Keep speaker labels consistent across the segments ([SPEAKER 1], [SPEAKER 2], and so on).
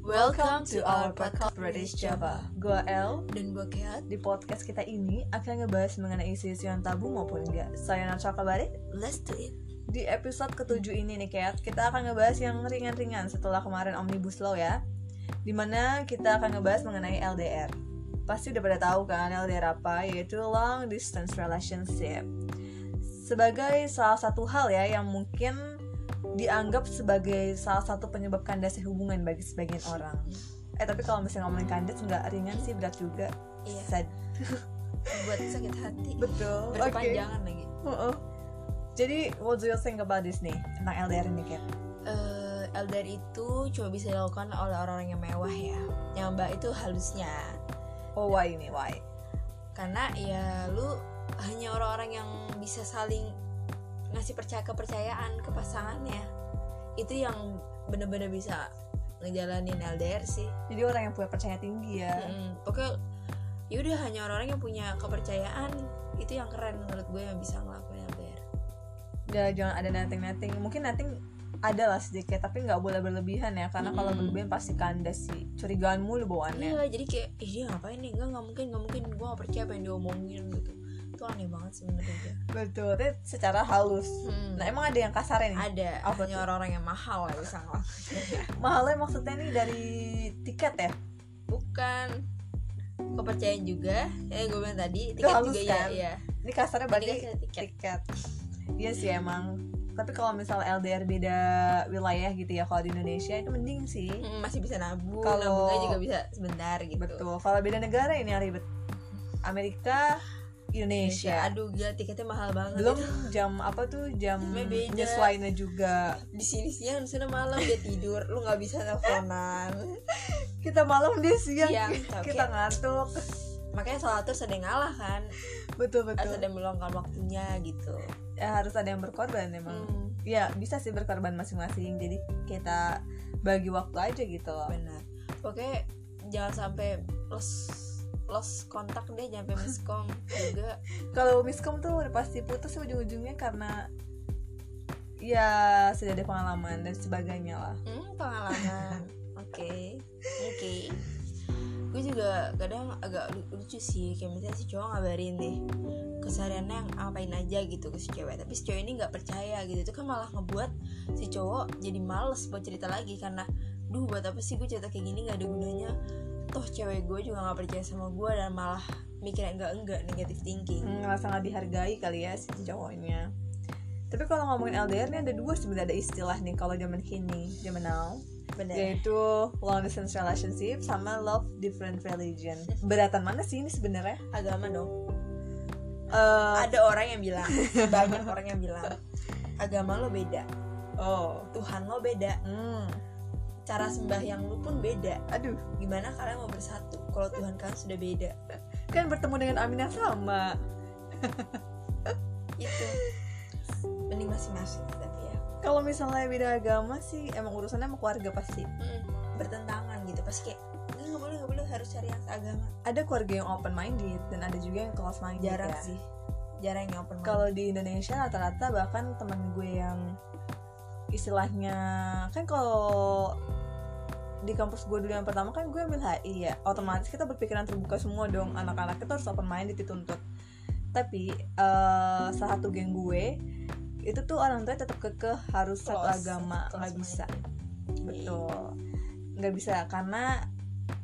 [SPEAKER 1] Welcome to our podcast British Java.
[SPEAKER 2] Gua El,
[SPEAKER 1] Dan gue Kehat,
[SPEAKER 2] di podcast kita ini akan ngebahas mengenai isu-isu yang tabu maupun enggak. Saya Nacha Kabari.
[SPEAKER 1] let's do it.
[SPEAKER 2] Di episode ketujuh ini nih, Kat, kita akan ngebahas yang ringan-ringan setelah kemarin Omnibus Law ya. Dimana kita akan ngebahas mengenai LDR. Pasti udah pada tahu kan LDR apa, yaitu Long Distance Relationship. Sebagai salah satu hal ya yang mungkin dianggap sebagai salah satu penyebab kandasnya hubungan bagi sebagian orang. Eh tapi kalau misalnya ngomongin kandas nggak ringan sih berat juga.
[SPEAKER 1] Iya,
[SPEAKER 2] Sad.
[SPEAKER 1] buat sakit hati.
[SPEAKER 2] Betul. Oke.
[SPEAKER 1] Berkepanjangan lagi.
[SPEAKER 2] Heeh. Jadi what do you think about this nih tentang LDR ini Kat?
[SPEAKER 1] Eh, LDR itu cuma bisa dilakukan oleh orang-orang yang mewah ya. Yang mbak itu halusnya.
[SPEAKER 2] Oh why ini why?
[SPEAKER 1] Karena ya lu hanya orang-orang yang bisa saling ngasih percaya kepercayaan ke pasangannya. Itu yang bener-bener bisa ngejalanin LDR sih.
[SPEAKER 2] Jadi orang yang punya percaya tinggi ya.
[SPEAKER 1] Mm, pokoknya yaudah hanya orang-orang yang punya kepercayaan itu yang keren menurut gue yang bisa ngelakuin LDR.
[SPEAKER 2] Ya jangan ada netting-netting. Mungkin netting ada lah sedikit tapi nggak boleh berlebihan ya karena kalau
[SPEAKER 1] Mm-mm.
[SPEAKER 2] berlebihan pasti kandas sih. Curigaan mulu bawaannya.
[SPEAKER 1] Iya, jadi kayak "Ih, dia ngapain nih? Enggak, nggak mungkin, nggak mungkin. Gue gak percaya apa yang diomongin gitu. Itu aneh banget sebenarnya.
[SPEAKER 2] Betul. Tapi secara halus.
[SPEAKER 1] Hmm.
[SPEAKER 2] Nah emang ada yang kasarnya nih?
[SPEAKER 1] Ada
[SPEAKER 2] Apa
[SPEAKER 1] hanya
[SPEAKER 2] tuh?
[SPEAKER 1] orang-orang yang mahal yang bisa ngelakuin.
[SPEAKER 2] Mahalnya maksudnya nih dari tiket ya?
[SPEAKER 1] Bukan kepercayaan juga. Ya gue bilang tadi
[SPEAKER 2] Itu
[SPEAKER 1] tiket
[SPEAKER 2] halus
[SPEAKER 1] juga ya.
[SPEAKER 2] kan?
[SPEAKER 1] Iya.
[SPEAKER 2] Ini kasarnya
[SPEAKER 1] Berarti
[SPEAKER 2] berarti
[SPEAKER 1] tiket.
[SPEAKER 2] tiket. Iya sih emang. Tapi kalau misal LDR beda wilayah gitu ya kalau di Indonesia itu mending sih.
[SPEAKER 1] Mm, masih bisa nabung,
[SPEAKER 2] Kalau-
[SPEAKER 1] nabungnya juga bisa sebentar gitu.
[SPEAKER 2] Betul. Kalau beda negara ini yang ribet. Amerika,
[SPEAKER 1] Indonesia.
[SPEAKER 2] Indonesia.
[SPEAKER 1] Aduh, gila tiketnya mahal banget.
[SPEAKER 2] Iya. Belum jam apa tuh jam
[SPEAKER 1] Jamnya beda.
[SPEAKER 2] penyesuaiannya juga.
[SPEAKER 1] di sini siang di sana malam dia tidur lu nggak bisa teleponan
[SPEAKER 2] Kita malam dia siang.
[SPEAKER 1] Siang,
[SPEAKER 2] Iya,
[SPEAKER 1] Iya,
[SPEAKER 2] Kita
[SPEAKER 1] oke.
[SPEAKER 2] ngantuk.
[SPEAKER 1] makanya salah satu ada yang ngalah kan
[SPEAKER 2] Betul betul.
[SPEAKER 1] harus ada yang meluangkan waktunya gitu
[SPEAKER 2] Ya, harus ada yang berkorban memang.
[SPEAKER 1] hmm,
[SPEAKER 2] Ya bisa sih berkorban masing-masing. Jadi kita bagi waktu aja gitu loh.
[SPEAKER 1] benar oke jangan sampai los los kontak deh jangan sampai miskom juga
[SPEAKER 2] Kalau miskom tuh udah pasti putus sih ujung-ujungnya karena ya sudah ada pengalaman dan sebagainya lah.
[SPEAKER 1] hmm, pengalaman oke oke gue juga kadang agak lu- lucu sih kayak misalnya si cowok ngabarin deh kesehariannya yang ngapain aja gitu ke si cewek tapi si cewek ini nggak percaya gitu itu kan malah ngebuat si cowok jadi males buat cerita lagi karena duh buat apa sih gue cerita kayak gini nggak ada gunanya toh cewek gue juga nggak percaya sama gue dan malah mikirnya enggak enggak negatif thinking
[SPEAKER 2] Hmm, ngerasa nggak dihargai kali ya si cowoknya tapi kalau ngomongin LDR nih ada dua sebenarnya ada istilah nih kalau zaman kini zaman now
[SPEAKER 1] bener
[SPEAKER 2] yaitu long distance relationship sama love different religion beratan mana sih ini sebenarnya
[SPEAKER 1] agama dong
[SPEAKER 2] Eh,
[SPEAKER 1] ada orang yang bilang banyak orang yang bilang agama lo beda
[SPEAKER 2] oh
[SPEAKER 1] Tuhan lo beda
[SPEAKER 2] hmm,
[SPEAKER 1] cara sembahyang lu pun beda
[SPEAKER 2] aduh
[SPEAKER 1] gimana kalian mau bersatu kalau Tuhan kalian sudah beda
[SPEAKER 2] kan bertemu dengan Amin yang sama
[SPEAKER 1] itu mending masing-masing tapi ya
[SPEAKER 2] kalau misalnya beda agama sih emang urusannya sama keluarga pasti
[SPEAKER 1] bertentangan gitu pasti kayak "Nggak, nggak boleh nggak boleh harus cari yang agama
[SPEAKER 2] ada keluarga yang open minded dan ada juga yang close minded
[SPEAKER 1] jarang
[SPEAKER 2] ya.
[SPEAKER 1] sih jarang yang open mind.
[SPEAKER 2] kalau di Indonesia rata-rata bahkan teman gue yang istilahnya kan kalau di kampus gue dulu yang pertama kan gue ambil HI ya otomatis kita berpikiran terbuka semua dong anak-anak kita harus open minded dituntut tapi eh, salah satu geng gue itu tuh orang tua tetap kekeh harus satu
[SPEAKER 1] Close,
[SPEAKER 2] agama
[SPEAKER 1] close
[SPEAKER 2] nggak bisa
[SPEAKER 1] minded.
[SPEAKER 2] betul Hmm. nggak bisa karena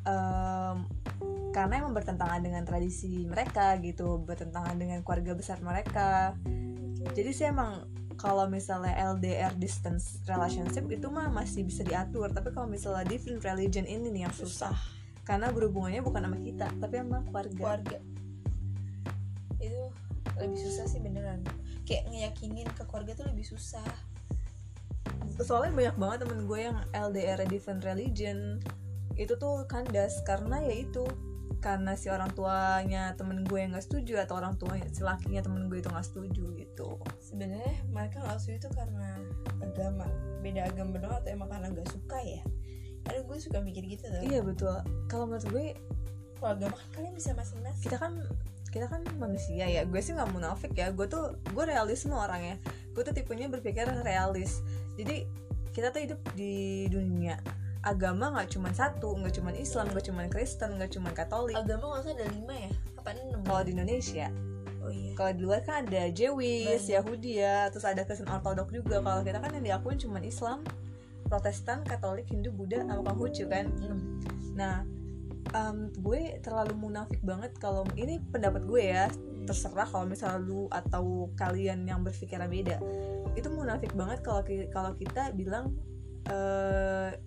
[SPEAKER 2] em, karena emang bertentangan dengan tradisi mereka gitu bertentangan dengan keluarga besar mereka jadi sih emang kalau misalnya LDR distance relationship itu mah masih bisa diatur tapi kalau misalnya different religion ini nih yang susah
[SPEAKER 1] susah
[SPEAKER 2] karena berhubungannya bukan sama kita tapi sama keluarga
[SPEAKER 1] keluarga itu lebih susah sih beneran kayak ngeyakinin ke keluarga tuh lebih susah
[SPEAKER 2] soalnya banyak banget temen gue yang LDR different religion itu tuh kandas karena ya itu karena si orang tuanya temen gue yang nggak setuju atau orang tua si lakinya temen gue itu nggak setuju gitu
[SPEAKER 1] sebenarnya mereka nggak setuju itu karena agama beda agama doang atau emang karena nggak suka ya Aduh gue suka mikir gitu tuh
[SPEAKER 2] iya betul kalau menurut gue
[SPEAKER 1] kalau agama kan kalian bisa masing-masing
[SPEAKER 2] kita kan kita kan manusia ya gue sih nggak munafik ya gue tuh gue realisme orangnya gue tuh tipenya berpikir realis jadi kita tuh hidup di dunia agama nggak cuman satu nggak cuman Islam nggak cuman Kristen nggak cuman Katolik
[SPEAKER 1] agama nggak usah ada lima ya apa enam
[SPEAKER 2] kalau di Indonesia
[SPEAKER 1] oh iya
[SPEAKER 2] kalau di luar kan ada Jewish
[SPEAKER 1] Banyak.
[SPEAKER 2] Yahudi ya terus ada Kristen Ortodok juga kalau kita kan yang diakuin cuman Islam Protestan Katolik Hindu Buddha sama Konghucu kan
[SPEAKER 1] enam
[SPEAKER 2] Nah, em, gue terlalu munafik banget kalau ini pendapat gue ya. Terserah kalau misalnya lu atau kalian yang berpikiran beda. Itu munafik banget kalau ki- kalau kita bilang eh,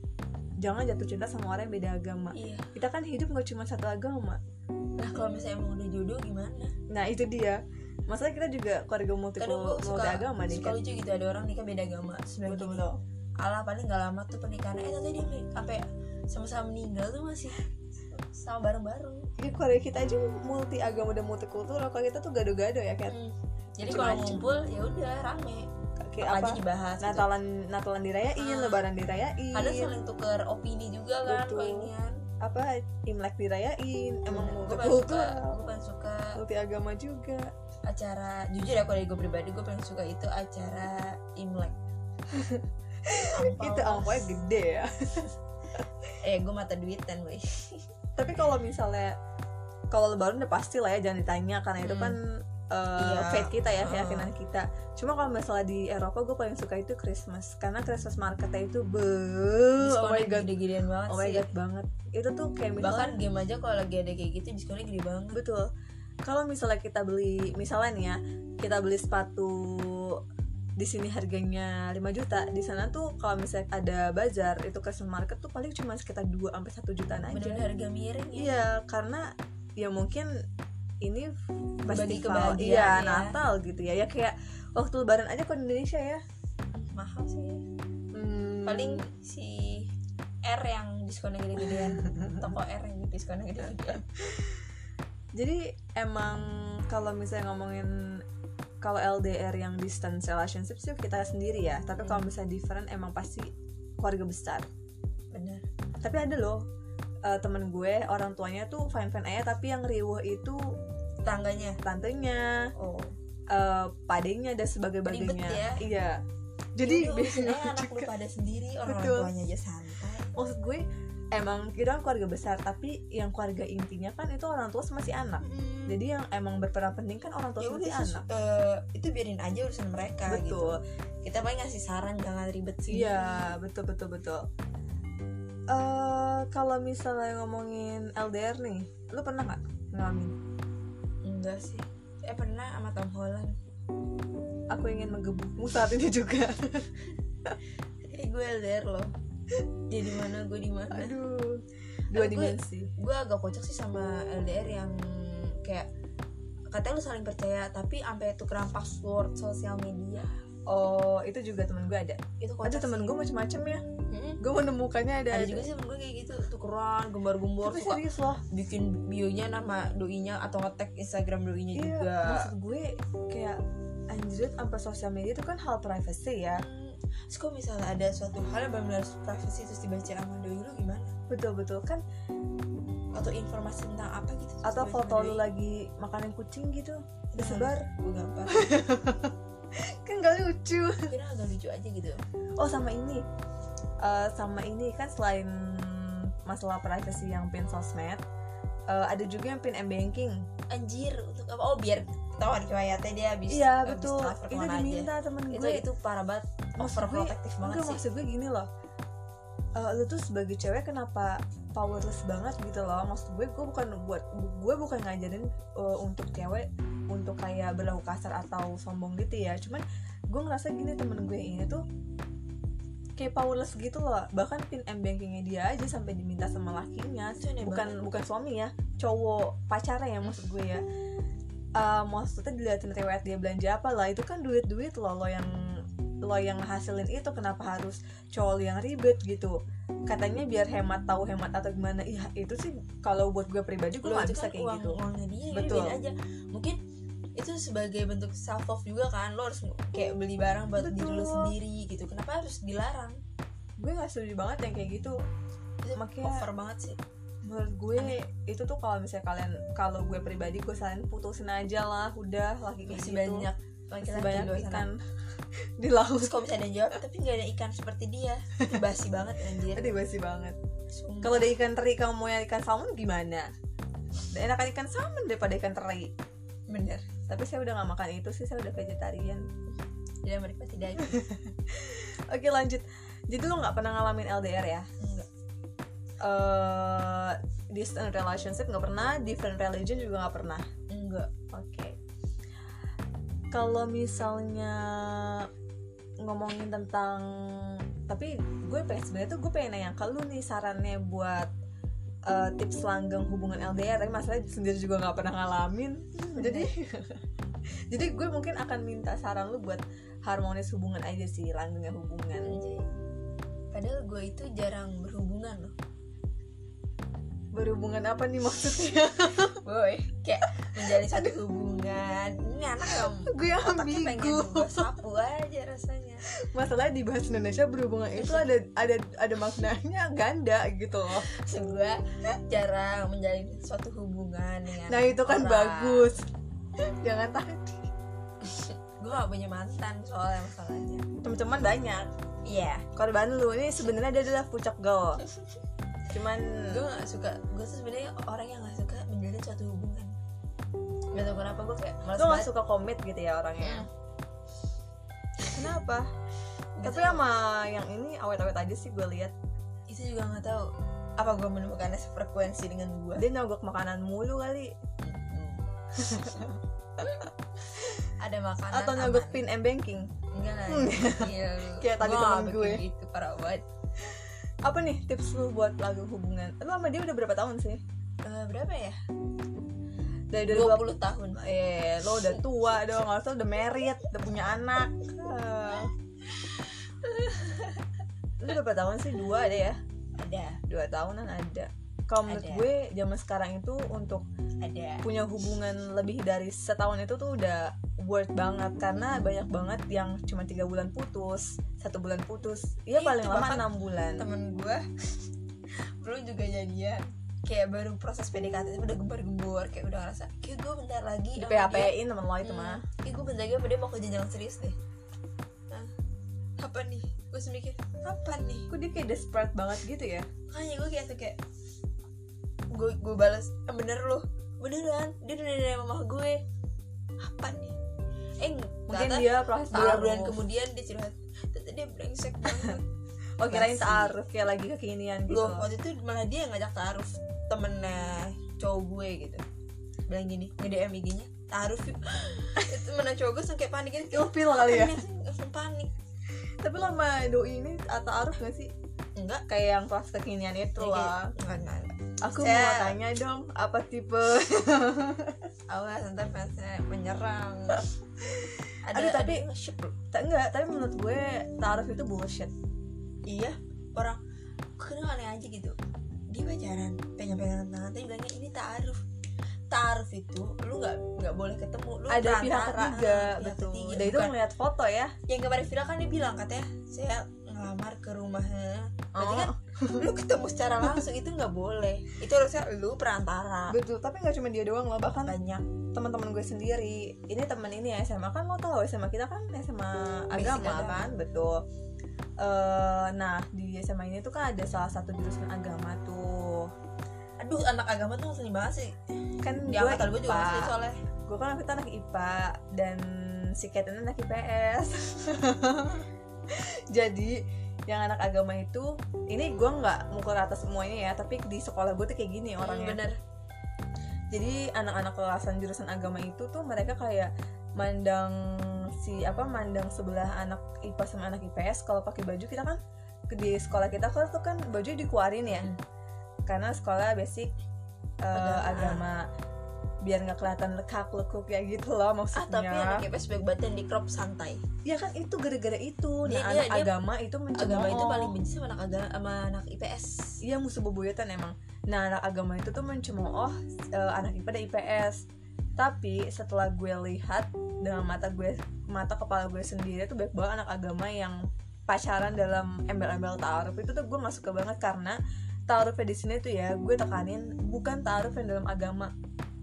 [SPEAKER 2] jangan jatuh cinta sama orang yang beda agama.
[SPEAKER 1] iya
[SPEAKER 2] Kita kan hidup nggak cuma satu agama.
[SPEAKER 1] lah kalau misalnya emang udah jodoh gimana
[SPEAKER 2] Nah, itu dia. Masalah kita juga keluarga multi
[SPEAKER 1] kadang gue suka
[SPEAKER 2] agama nih
[SPEAKER 1] suka
[SPEAKER 2] kan.
[SPEAKER 1] lucu gitu ada orang nikah beda agama sebenarnya
[SPEAKER 2] Betul betul.
[SPEAKER 1] Allah paling gak lama tuh pernikahan eh tadi dia menik- sampai sama-sama meninggal tuh masih sama bareng-bareng
[SPEAKER 2] Jadi keluarga kita aja multi agama dan multikultural. Kalau kita tuh gado-gado ya kan.
[SPEAKER 1] Hmm. jadi kalau
[SPEAKER 2] Macem-macem.
[SPEAKER 1] ngumpul ya udah rame
[SPEAKER 2] Kayak
[SPEAKER 1] Iya, apa,
[SPEAKER 2] apa?
[SPEAKER 1] aja dibahas gitu.
[SPEAKER 2] Natalan Natalan dirayain,
[SPEAKER 1] Ah.
[SPEAKER 2] Lebaran dirayain.
[SPEAKER 1] kadang saling tuker opini juga kan
[SPEAKER 2] Iya. Betul.
[SPEAKER 1] palingan
[SPEAKER 2] apa Imlek dirayain emang
[SPEAKER 1] Hmm, gue paling suka gue
[SPEAKER 2] multikultural
[SPEAKER 1] paling suka
[SPEAKER 2] multi agama juga
[SPEAKER 1] acara jujur ya kalau dari gue pribadi gue paling suka itu acara imlek Ampau.
[SPEAKER 2] itu angpaunya gede ya
[SPEAKER 1] eh gue mata duitan weh
[SPEAKER 2] tapi kalau misalnya kalau lebaran udah pasti lah ya jangan ditanya karena itu
[SPEAKER 1] Hmm.
[SPEAKER 2] kan eh,
[SPEAKER 1] Iya.
[SPEAKER 2] faith kita ya
[SPEAKER 1] Uh.
[SPEAKER 2] keyakinan kita cuma kalau misalnya di Eropa gue paling suka itu Christmas karena Christmas marketnya itu be oh my
[SPEAKER 1] diskonnya
[SPEAKER 2] god
[SPEAKER 1] gede-gedean banget
[SPEAKER 2] oh my
[SPEAKER 1] sih
[SPEAKER 2] god banget itu tuh kayak misalnya
[SPEAKER 1] bahkan game aja kalau lagi ada kayak gitu diskonnya gede banget
[SPEAKER 2] Betul. Kalau misalnya kita beli, misalnya nih ya, kita beli sepatu di sini harganya 5 juta, di sana tuh kalau misalnya ada bazar itu Christmas market tuh paling cuma sekitar 2 sampai 1 jutaan aja.
[SPEAKER 1] bener-bener harga miring ya
[SPEAKER 2] Iya, karena ya mungkin ini
[SPEAKER 1] Bagi
[SPEAKER 2] festival
[SPEAKER 1] kebahagiaan ya.
[SPEAKER 2] iya Natal gitu ya. Ya kayak waktu lebaran aja ke Indonesia ya.
[SPEAKER 1] mahal sih
[SPEAKER 2] Hmm,
[SPEAKER 1] paling si R yang diskonnya gede-gedean toko R yang diskonnya gede-gedean
[SPEAKER 2] Jadi emang kalau misalnya ngomongin kalau LDR yang distance relationship sih kita sendiri ya. Tapi kalau
[SPEAKER 1] Hmm.
[SPEAKER 2] misalnya different emang pasti keluarga besar.
[SPEAKER 1] bener
[SPEAKER 2] Tapi ada loh eh, temen gue orang tuanya tuh fine fine aja tapi yang riuh itu
[SPEAKER 1] tangganya
[SPEAKER 2] tantenya,
[SPEAKER 1] oh
[SPEAKER 2] eh, padenya dan sebagai
[SPEAKER 1] Ribet
[SPEAKER 2] bagainya.
[SPEAKER 1] ya. Iya,
[SPEAKER 2] Iya. Jadi
[SPEAKER 1] Yaudah, urusin aja anak lu pada sendiri orang
[SPEAKER 2] Betul.
[SPEAKER 1] orang tuanya aja santai
[SPEAKER 2] maksud gue emang kita kan keluarga besar tapi yang keluarga intinya kan itu orang tua sama si anak. Jadi yang emang berperan penting kan orang tua
[SPEAKER 1] ya
[SPEAKER 2] sama
[SPEAKER 1] udah
[SPEAKER 2] si
[SPEAKER 1] sus-
[SPEAKER 2] anak.
[SPEAKER 1] eh, itu biarin aja urusan mereka gitu
[SPEAKER 2] Betul.
[SPEAKER 1] kita paling ngasih saran jangan ribet sih
[SPEAKER 2] Iya, betul betul betul. Eh kalau misalnya ngomongin LDR nih, lu pernah nggak ngalamin?
[SPEAKER 1] enggak sih eh pernah sama Tom Holland
[SPEAKER 2] Aku ingin menggebukmu saat ini juga.
[SPEAKER 1] eh gue LDR loh dia di mana gue di mana
[SPEAKER 2] Aduh,
[SPEAKER 1] Aduh,
[SPEAKER 2] dua
[SPEAKER 1] gue-
[SPEAKER 2] dimensi.
[SPEAKER 1] gue agak kocak sih sama LDR yang kayak katanya lu saling percaya tapi sampai tukeran password sosial media
[SPEAKER 2] Oh, itu juga temen gue ada.
[SPEAKER 1] itu kocak
[SPEAKER 2] Ada temen
[SPEAKER 1] sih.
[SPEAKER 2] gue macam-macam ya.
[SPEAKER 1] Mm-mm.
[SPEAKER 2] Gue menemukannya Oh, ada.
[SPEAKER 1] ada juga sih temen gue kayak gitu tukeran gembar-gembor
[SPEAKER 2] Tapi
[SPEAKER 1] suka
[SPEAKER 2] serius loh.
[SPEAKER 1] bikin bionya nama doinya atau nge-tag Instagram doinya
[SPEAKER 2] Iya,
[SPEAKER 1] juga
[SPEAKER 2] maksud gue kayak anjir apa sosial media itu kan hal privacy ya.
[SPEAKER 1] Hmm, Terus kalau misalnya ada suatu hal yang benar-benar privacy terus dibaca sama doi lu gimana?
[SPEAKER 2] Betul betul kan
[SPEAKER 1] Atau informasi tentang apa gitu? terus dibaca
[SPEAKER 2] atau
[SPEAKER 1] sama
[SPEAKER 2] foto lu
[SPEAKER 1] doi.
[SPEAKER 2] lagi makanan kucing gitu
[SPEAKER 1] Nah,
[SPEAKER 2] disebar
[SPEAKER 1] Gue gampang.
[SPEAKER 2] kan gak lucu.
[SPEAKER 1] Kira agak lucu aja gitu.
[SPEAKER 2] Oh sama ini, Eh, sama ini kan selain masalah privacy yang pin sosmed, eh, ada juga yang pin m banking.
[SPEAKER 1] Anjir untuk apa? Oh biar ketahuan riwayatnya dia habis.
[SPEAKER 2] Iya
[SPEAKER 1] habis
[SPEAKER 2] betul.
[SPEAKER 1] transfer
[SPEAKER 2] Itu
[SPEAKER 1] kemana aja.
[SPEAKER 2] diminta temen
[SPEAKER 1] Itu
[SPEAKER 2] gue.
[SPEAKER 1] itu parah banget.
[SPEAKER 2] Maksud gue-
[SPEAKER 1] Overprotective banget
[SPEAKER 2] Enggak
[SPEAKER 1] sih.
[SPEAKER 2] maksud gue gini loh. Eh, lu tuh sebagai cewek kenapa powerless banget gitu loh maksud gue gue bukan buat gue bukan ngajarin eh, untuk cewek untuk kayak berlaku kasar atau sombong gitu ya cuman gue ngerasa gini temen gue ini tuh kayak powerless gitu loh bahkan pin m bankingnya dia aja sampai diminta sama lakinya
[SPEAKER 1] Itu aneh
[SPEAKER 2] Iya bukan bukan suami ya cowok pacarnya ya maksud gue ya Eh, maksudnya diliatin riwayat dia belanja apa lah itu kan duit duit lo lo yang lo yang hasilin itu kenapa harus cowok lo yang ribet gitu katanya biar hemat tahu hemat atau gimana iya itu sih kalau buat gue pribadi gue
[SPEAKER 1] Loh,
[SPEAKER 2] nggak
[SPEAKER 1] itu kan
[SPEAKER 2] bisa kayak
[SPEAKER 1] uang
[SPEAKER 2] gitu
[SPEAKER 1] uangnya dia ya,
[SPEAKER 2] Betul.
[SPEAKER 1] biarin aja mungkin itu sebagai bentuk self love juga kan lo harus kayak beli barang buat diri lo
[SPEAKER 2] Betul.
[SPEAKER 1] sendiri gitu kenapa harus dilarang
[SPEAKER 2] gue nggak setuju banget yang kayak gitu
[SPEAKER 1] itu
[SPEAKER 2] Makanya-
[SPEAKER 1] over banget sih
[SPEAKER 2] menurut gue itu tuh kalau misalnya kalian kalau gue pribadi gue saranin putusin aja lah udah lagi kayak
[SPEAKER 1] masih
[SPEAKER 2] gitu
[SPEAKER 1] banyak laki-laki
[SPEAKER 2] sebanyak
[SPEAKER 1] di luar sana
[SPEAKER 2] ikan di laut
[SPEAKER 1] terus kalau misalnya dia jawab tapi nggak ada ikan seperti dia Itu basi banget anjir
[SPEAKER 2] tadi basi banget
[SPEAKER 1] Sumpah.
[SPEAKER 2] kalau ada ikan teri kamu mau yang ikan salmon gimana enakan ikan salmon daripada ikan teri
[SPEAKER 1] bener
[SPEAKER 2] tapi saya udah nggak makan itu sih saya udah vegetarian
[SPEAKER 1] dia menikmati daging
[SPEAKER 2] oke lanjut jadi lo nggak pernah ngalamin LDR ya
[SPEAKER 1] enggak
[SPEAKER 2] Eh distant relationship nggak pernah different religion juga nggak pernah
[SPEAKER 1] enggak
[SPEAKER 2] Oke. Kalau misalnya ngomongin tentang tapi gue pengen sebenarnya tuh gue pengen nanya ke lu nih sarannya buat eh, tips langgeng hubungan LDR tapi masalahnya sendiri juga nggak pernah ngalamin
[SPEAKER 1] Hmm,
[SPEAKER 2] jadi
[SPEAKER 1] iya.
[SPEAKER 2] jadi gue mungkin akan minta saran lu buat harmonis hubungan aja sih langgengnya hubungan
[SPEAKER 1] Anjay. ya. padahal gue itu jarang berhubungan loh
[SPEAKER 2] berhubungan apa nih maksudnya
[SPEAKER 1] boy kayak menjalin satu hubungan ini anak yang
[SPEAKER 2] gue yang
[SPEAKER 1] otaknya pengen
[SPEAKER 2] ambigu
[SPEAKER 1] gue sapu aja rasanya
[SPEAKER 2] masalahnya di bahasa Indonesia berhubungan itu ada ada ada maknanya ganda gitu loh
[SPEAKER 1] Maksud gue jarang menjalin suatu hubungan dengan
[SPEAKER 2] Nah itu kan
[SPEAKER 1] orang.
[SPEAKER 2] bagus. Jangan tadi.
[SPEAKER 1] gue gak punya mantan soalnya masalahnya
[SPEAKER 2] Teman-teman banyak.
[SPEAKER 1] iya
[SPEAKER 2] Korban lu ini sebenarnya dia adalah pucuk girl. Cuman
[SPEAKER 1] gue gak suka gue tuh sebenarnya orang yang gak suka menjalin suatu hubungan gak tau kenapa gue kayak malas
[SPEAKER 2] lu gak
[SPEAKER 1] banget
[SPEAKER 2] suka komit gitu ya orangnya.
[SPEAKER 1] Hmm.
[SPEAKER 2] Kenapa?
[SPEAKER 1] Gak
[SPEAKER 2] Tapi
[SPEAKER 1] tau.
[SPEAKER 2] sama yang ini awet-awet aja sih gue lihat.
[SPEAKER 1] itu juga gak tahu Gitu. apa gue menemukannya sefrekuensi dengan gue
[SPEAKER 2] Dia nyogok makanan mulu kali
[SPEAKER 1] ada makanan
[SPEAKER 2] atau nyogok pin and banking.
[SPEAKER 1] enggak lah
[SPEAKER 2] Hmm.
[SPEAKER 1] Iya, lu.
[SPEAKER 2] Kayak tadi
[SPEAKER 1] Gua
[SPEAKER 2] temen
[SPEAKER 1] gak
[SPEAKER 2] gue.
[SPEAKER 1] bikin gitu parah banget
[SPEAKER 2] Apa nih tips lu buat lagu hubungan? Lu sama dia udah berapa tahun sih?
[SPEAKER 1] Eh, berapa ya
[SPEAKER 2] Dari 2020
[SPEAKER 1] 20 tahun
[SPEAKER 2] Eh, lo udah tua dong, harusnya udah married, udah punya anak. Ah. Lu udah berapa tahun sih? Dua ada ya?
[SPEAKER 1] ada
[SPEAKER 2] Dua tahunan ada. Kalau menurut
[SPEAKER 1] Ada.
[SPEAKER 2] gue, zaman sekarang itu untuk
[SPEAKER 1] ada
[SPEAKER 2] punya hubungan lebih dari setahun itu tuh udah worth banget karena banyak banget yang cuma tiga bulan putus, satu bulan putus,
[SPEAKER 1] Iya,
[SPEAKER 2] ya
[SPEAKER 1] Itu
[SPEAKER 2] paling lama
[SPEAKER 1] bahkan
[SPEAKER 2] enam bulan.
[SPEAKER 1] temen gue belum juga jadian kayak baru proses PDKT itu udah gembar-gembor kayak udah ngerasa kayak gue bentar lagi sama
[SPEAKER 2] Di
[SPEAKER 1] dia.
[SPEAKER 2] PHP-in temen lo itu mah.
[SPEAKER 1] Hmm, Ih gue bentar lagi apa dia mau ke jenjang serius deh Nah, Apa nih? Gue sempit mikir Apa nih?
[SPEAKER 2] Kok dia kayak desperate banget gitu ya?
[SPEAKER 1] Makanya gue kayak tuh kayak Gue gue balas "Ah, Bener loh Beneran Dia udah dari mama gue Apa nih? Eh
[SPEAKER 2] Mungkin
[SPEAKER 1] ternyata
[SPEAKER 2] dia proses
[SPEAKER 1] Bulan-bulan
[SPEAKER 2] taruh.
[SPEAKER 1] kemudian dia curhat Tante dia brengsek banget
[SPEAKER 2] Oh kirain
[SPEAKER 1] Basi.
[SPEAKER 2] taaruf kayak lagi kekinian gitu.
[SPEAKER 1] Gue waktu itu malah dia yang ngajak taruh Temennya cowok gue gitu Bilang gini Nge-DM IG-nya Taruh yuk Itu temennya cowok gue sampai panik gitu
[SPEAKER 2] Ilfil kali ya.
[SPEAKER 1] Panik, langsung panik
[SPEAKER 2] Tapi lo sama doi ini atau Aruf gak sih?
[SPEAKER 1] enggak
[SPEAKER 2] Kayak yang kelas kekinian itu
[SPEAKER 1] Oke.
[SPEAKER 2] lah.
[SPEAKER 1] enggak enggak enggak.
[SPEAKER 2] Aku
[SPEAKER 1] Saya-
[SPEAKER 2] mau tanya dong, apa tipe?
[SPEAKER 1] awas ntar fansnya menyerang ada
[SPEAKER 2] Aduh, tapi-
[SPEAKER 1] yang nge-shoot loh.
[SPEAKER 2] tak enggak, tapi menurut gue taaruf itu bullshit.
[SPEAKER 1] iya orang kenal aneh aja gitu dia pacaran pengen pegangan tangan tapi bilangnya ini taaruf taaruf itu lu nggak nggak boleh ketemu lu
[SPEAKER 2] Ada
[SPEAKER 1] perantara,
[SPEAKER 2] pihak Iya, ketiga,
[SPEAKER 1] ah, pihak
[SPEAKER 2] betul.
[SPEAKER 1] ketiga.
[SPEAKER 2] Dan itu
[SPEAKER 1] Bukan.
[SPEAKER 2] ngeliat foto ya.
[SPEAKER 1] yang kemarin viral kan dia bilang katanya saya ngelamar ke rumahnya berarti
[SPEAKER 2] Oh.
[SPEAKER 1] kan lu ketemu secara langsung itu nggak boleh itu harusnya lu perantara
[SPEAKER 2] Betul, tapi nggak cuma dia doang loh, bahkan
[SPEAKER 1] banyak
[SPEAKER 2] teman-teman gue sendiri. Ini teman ini ya SMA kan lo tahu SMA kita kan SMA agama
[SPEAKER 1] agama.
[SPEAKER 2] kan, betul. Eh, nah di SMA ini tuh kan ada salah satu jurusan agama tuh
[SPEAKER 1] aduh anak agama tuh ngeselin banget sih
[SPEAKER 2] kan
[SPEAKER 1] di
[SPEAKER 2] gue
[SPEAKER 1] angkatan gue juga
[SPEAKER 2] IPA.
[SPEAKER 1] ngeselin soalnya
[SPEAKER 2] gue kan waktu itu anak IPA dan si Kate ini anak IPS jadi yang anak agama itu ini gue nggak mukul rata semuanya ya tapi di sekolah gue tuh kayak gini
[SPEAKER 1] orang
[SPEAKER 2] orangnya
[SPEAKER 1] bener
[SPEAKER 2] jadi anak-anak kelasan jurusan agama itu tuh mereka kayak mandang si apa mandang sebelah anak IPA sama anak IPS kalau pakai baju kita kan ke- di sekolah kita kan tuh kan baju dikeluarin ya
[SPEAKER 1] Hmm.
[SPEAKER 2] karena sekolah basic eh,
[SPEAKER 1] Agama.
[SPEAKER 2] agama biar nggak kelihatan lekak lekuk ya gitu loh
[SPEAKER 1] ah tapi
[SPEAKER 2] maksudnya
[SPEAKER 1] anak IPS baik banget yang di crop santai
[SPEAKER 2] ya kan itu gara-gara itu nah
[SPEAKER 1] Dia-
[SPEAKER 2] anak
[SPEAKER 1] dia- dia-
[SPEAKER 2] agama itu mencemooh
[SPEAKER 1] Iya, agama itu paling benci sama anak agama sama anak IPS
[SPEAKER 2] Iya musuh bebuyutan emang. Nah anak agama itu tuh mencemooh eh, anak IPA dan IPS. Tapi setelah gue lihat dengan mata gue mata kepala gue sendiri tuh banyak banget anak agama yang pacaran dalam embel-embel taaruf itu tuh gue nggak suka banget karena taarufnya di sini tuh ya gue tekanin bukan taaruf yang dalam agama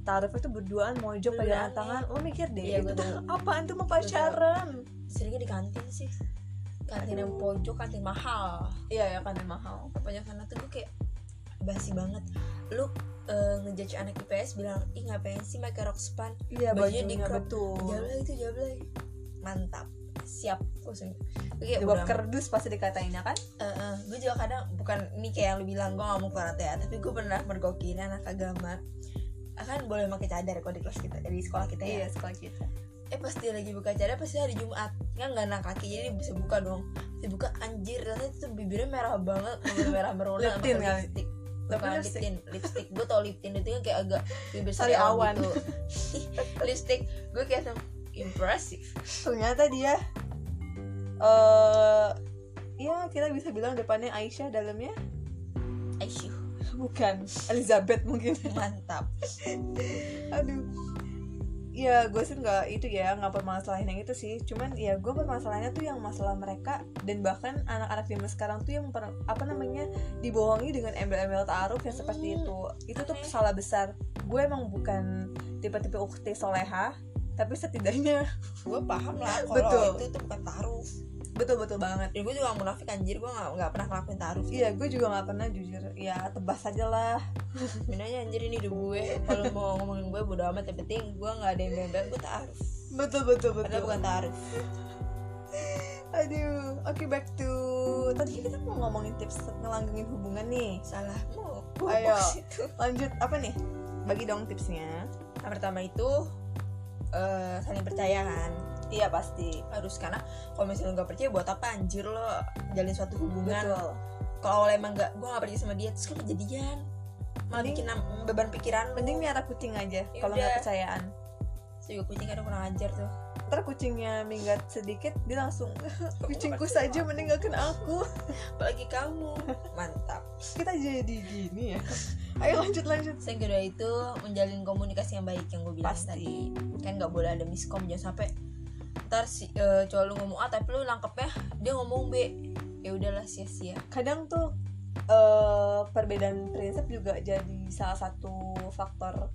[SPEAKER 2] tarif itu berduaan mojok pegangan
[SPEAKER 1] Berduaan,
[SPEAKER 2] tangan lo mikir deh
[SPEAKER 1] Iya, gua
[SPEAKER 2] itu tuh
[SPEAKER 1] tahu.
[SPEAKER 2] apaan tuh mau
[SPEAKER 1] Gua tahu.
[SPEAKER 2] pacaran
[SPEAKER 1] seringnya di kantin sih kantin yang
[SPEAKER 2] Aduh.
[SPEAKER 1] pojok kantin mahal
[SPEAKER 2] iya ya kan mahal
[SPEAKER 1] pojok sana tuh gue kayak basi banget lu eh, ngejudge anak IPS bilang ih ngapain sih pakai rok span
[SPEAKER 2] iya
[SPEAKER 1] Bajunya
[SPEAKER 2] bajunya,
[SPEAKER 1] di crop.
[SPEAKER 2] betul
[SPEAKER 1] jawab lagi tuh jawab lagi mantap siap langsung gue kayak udah-
[SPEAKER 2] jawab kerdus pasti dikatainnya kan
[SPEAKER 1] Eh, eh, gue juga kadang bukan ini kayak yang lu bilang gue gak mau kuarat ya tapi gue pernah mergokin anak agama akan boleh pakai cadar kalau di kelas kita dari sekolah kita ya
[SPEAKER 2] iya sekolah kita
[SPEAKER 1] eh pas dia lagi buka cadar pasti hari Jumat kan nggak anak kaki jadi bisa buka dong dia buka anjir ternyata itu bibirnya merah banget bener merah merona sama
[SPEAKER 2] Liptin
[SPEAKER 1] kayak
[SPEAKER 2] kali.
[SPEAKER 1] lipstick
[SPEAKER 2] Tapi
[SPEAKER 1] Bukan
[SPEAKER 2] lipstick.
[SPEAKER 1] liptin, lipstick gue tau liptin itu kan kayak agak bibir
[SPEAKER 2] Sari awan.
[SPEAKER 1] gitu lipstick gue kayak sem- impressive
[SPEAKER 2] ternyata dia eh ya kita bisa bilang depannya Aisyah dalamnya
[SPEAKER 1] Aisyuh
[SPEAKER 2] bukan Elizabeth mungkin
[SPEAKER 1] mantap
[SPEAKER 2] aduh ya gue sih nggak itu ya nggak permasalahan yang itu sih cuman ya gue permasalahannya tuh yang masalah mereka dan bahkan anak-anak zaman sekarang tuh yang per- apa namanya dibohongi dengan embel-embel taruh yang seperti
[SPEAKER 1] Hmm,
[SPEAKER 2] itu itu tuh
[SPEAKER 1] aneh.
[SPEAKER 2] salah besar gue emang bukan tipe-tipe ukti soleha tapi setidaknya
[SPEAKER 1] gue paham lah
[SPEAKER 2] Betul.
[SPEAKER 1] kalau itu itu bukan taruh
[SPEAKER 2] betul-betul banget
[SPEAKER 1] ya gue juga nggak munafik anjir gue nggak nggak pernah ngelakuin taruh
[SPEAKER 2] iya gue juga nggak pernah jujur ya tebas aja lah
[SPEAKER 1] Sebenarnya anjir ini hidup gue kalau mau ngomongin gue bodo amat yang penting gue nggak ada yang bilang gue taruh
[SPEAKER 2] betul-betul
[SPEAKER 1] padahal bukan taruh
[SPEAKER 2] aduh oke back to tadi kita mau ngomongin tips ngelanggengin hubungan nih
[SPEAKER 1] salah mau
[SPEAKER 2] Ayo.
[SPEAKER 1] itu
[SPEAKER 2] lanjut apa nih bagi dong tipsnya
[SPEAKER 1] yang pertama itu eh, saling percaya kan
[SPEAKER 2] iya pasti
[SPEAKER 1] harus karena kalau misalnya nggak percaya buat apa anjir lo jalin suatu hubungan
[SPEAKER 2] betul
[SPEAKER 1] kalau awalnya emang nggak gue nggak percaya sama dia terus kan kejadian malah
[SPEAKER 2] Mending-
[SPEAKER 1] bikin nam- beban pikiran lo.
[SPEAKER 2] mending miara kucing aja
[SPEAKER 1] Ya udah.
[SPEAKER 2] kalau nggak percayaan
[SPEAKER 1] Terus juga kucing kadang kurang ajar tuh
[SPEAKER 2] ntar kucingnya minggat sedikit dia langsung kucingku
[SPEAKER 1] Kurang
[SPEAKER 2] saja
[SPEAKER 1] ajar.
[SPEAKER 2] meninggalkan aku
[SPEAKER 1] apalagi kamu mantap
[SPEAKER 2] kita jadi gini ya ayo lanjut lanjut
[SPEAKER 1] Terus yang kedua itu menjalin komunikasi yang baik yang gue bilang
[SPEAKER 2] Pasti.
[SPEAKER 1] tadi. Kan nggak boleh ada miskom jangan sampai ntar si eh, cowok lu ngomong A tapi lu nangkepnya dia ngomong B. Ya udahlah sia-sia.
[SPEAKER 2] kadang tuh eh, perbedaan prinsip juga jadi salah satu faktor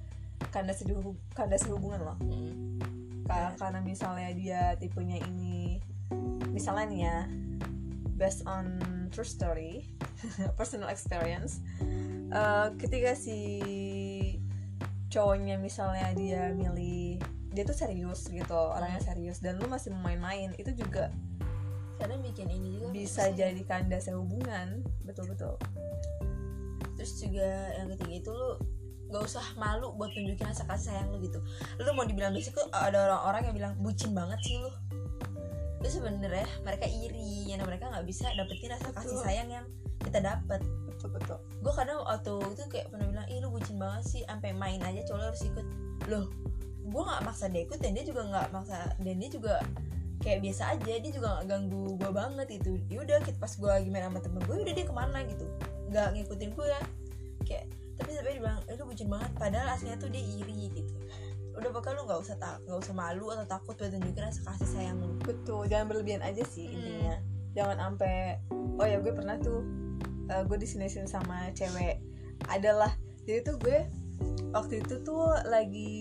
[SPEAKER 2] kandas hub- kandas hubungan loh
[SPEAKER 1] Mm.
[SPEAKER 2] Ka- karena misalnya dia tipenya ini misalnya nih ya based on true story personal experience eh, ketika si cowoknya misalnya dia milih dia tuh serius gitu orangnya serius dan lu masih main-main itu juga
[SPEAKER 1] Kadang bikin ini juga
[SPEAKER 2] bisa
[SPEAKER 1] sih.
[SPEAKER 2] jadi kandas hubungan betul-betul
[SPEAKER 1] Terus juga yang ketiga itu lu gak usah malu buat tunjukin rasa kasih sayang lu gitu. Lu mau dibilang basic tuh ada orang-orang yang bilang bucin banget sih lu. Itu sebenarnya mereka iri, yang mereka nggak bisa dapetin rasa kasih
[SPEAKER 2] Betul.
[SPEAKER 1] sayang yang kita dapet.
[SPEAKER 2] betul-betul
[SPEAKER 1] gue kadang waktu itu kayak pernah bilang ih lu bucin banget sih sampai main aja cowok lu harus ikut loh gue nggak maksa dia ikut dan dia juga nggak maksa dan dia juga kayak biasa aja dia juga nggak ganggu gue banget itu yaudah kita pas gue lagi main sama temen gue udah dia kemana gitu nggak ngikutin gue kayak tapi sampai dibilang eh, lu bucin banget padahal aslinya tuh dia iri gitu udah bakal lu nggak usah tak nggak usah malu atau takut buat tunjukin rasa kasih sayang lu
[SPEAKER 2] betul jangan berlebihan aja sih
[SPEAKER 1] Hmm.
[SPEAKER 2] intinya jangan sampai oh ya gue pernah tuh eh, gue disini-sini sama cewek adalah jadi tuh gue waktu itu tuh lagi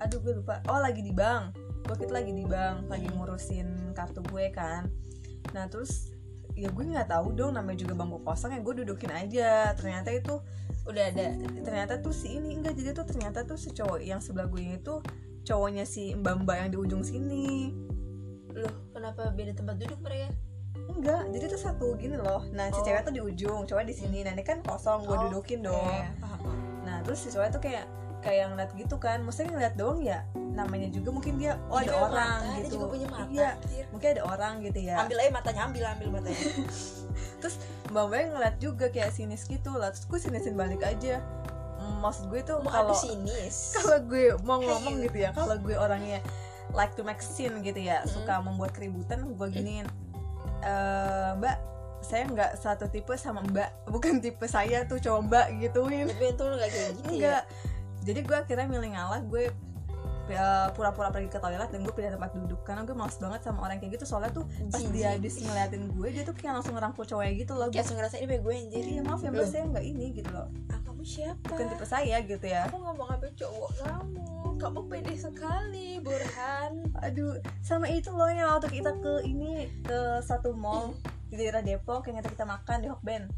[SPEAKER 2] aduh gue lupa oh lagi di bank waktu itu lagi di bank lagi
[SPEAKER 1] Hmm.
[SPEAKER 2] ngurusin kartu gue kan nah terus ya gue nggak tahu dong namanya juga bangku kosong ya gue dudukin aja ternyata itu
[SPEAKER 1] udah ada
[SPEAKER 2] ternyata tuh si ini enggak jadi tuh ternyata tuh si cowok yang sebelah gue itu cowoknya si mbak mbak yang di ujung sini
[SPEAKER 1] loh kenapa beda tempat duduk mereka
[SPEAKER 2] Enggak, jadi tuh satu gini loh. Nah, si
[SPEAKER 1] Oh.
[SPEAKER 2] cewek tuh di ujung, cowok di sini. Nah, ini kan kosong, gue
[SPEAKER 1] Oh,
[SPEAKER 2] dudukin
[SPEAKER 1] Oke,
[SPEAKER 2] dong.
[SPEAKER 1] paham.
[SPEAKER 2] Nah, terus si cewek tuh kayak kayak ngeliat gitu kan. Maksudnya ngeliat doang ya. Namanya juga mungkin dia oh
[SPEAKER 1] Dia
[SPEAKER 2] ada
[SPEAKER 1] punya
[SPEAKER 2] orang
[SPEAKER 1] mata,
[SPEAKER 2] gitu.
[SPEAKER 1] dia juga punya mata
[SPEAKER 2] Iya,
[SPEAKER 1] anjir.
[SPEAKER 2] mungkin ada orang gitu ya.
[SPEAKER 1] ambil aja matanya ambil ambil matanya
[SPEAKER 2] Mbak Mbak ngeliat juga kayak sinis gitu lah. Terus gue sinisin balik aja. Mm, Maksud gue tuh
[SPEAKER 1] mau
[SPEAKER 2] kalau
[SPEAKER 1] aduh sinis
[SPEAKER 2] kalau gue mau
[SPEAKER 1] Hey,
[SPEAKER 2] ngomong
[SPEAKER 1] you.
[SPEAKER 2] gitu ya, kalau gue orangnya like to make scene gitu ya,
[SPEAKER 1] Mm-mm. Iya.
[SPEAKER 2] suka membuat keributan, gue giniin. "Eh, mbak, saya nggak satu tipe sama Mbak, bukan tipe saya tuh cowok Mbak gituin.
[SPEAKER 1] tapi untung lu gak kayak gitu ya
[SPEAKER 2] Enggak. Jadi gue akhirnya milih ngalah, gue eh, pura-pura pergi ke toilet dan gue pindah tempat duduk karena gue males banget sama orang kayak gitu soalnya tuh pas dia
[SPEAKER 1] Jijik.
[SPEAKER 2] habis ngeliatin gue dia tuh kayak langsung ngerangkul cowoknya gitu loh
[SPEAKER 1] kayak
[SPEAKER 2] gue
[SPEAKER 1] langsung ngerasa ini punya gue anjir
[SPEAKER 2] iya maaf ya mbak
[SPEAKER 1] Loh.
[SPEAKER 2] saya nggak ini gitu loh
[SPEAKER 1] ah, kamu siapa
[SPEAKER 2] bukan tipe saya gitu ya
[SPEAKER 1] kamu ngomong apa cowok kamu kamu pede sekali Burhan
[SPEAKER 2] aduh sama itu loh yang waktu kita ke ini ke satu mall di daerah Depok yang kita, kita makan di Hokben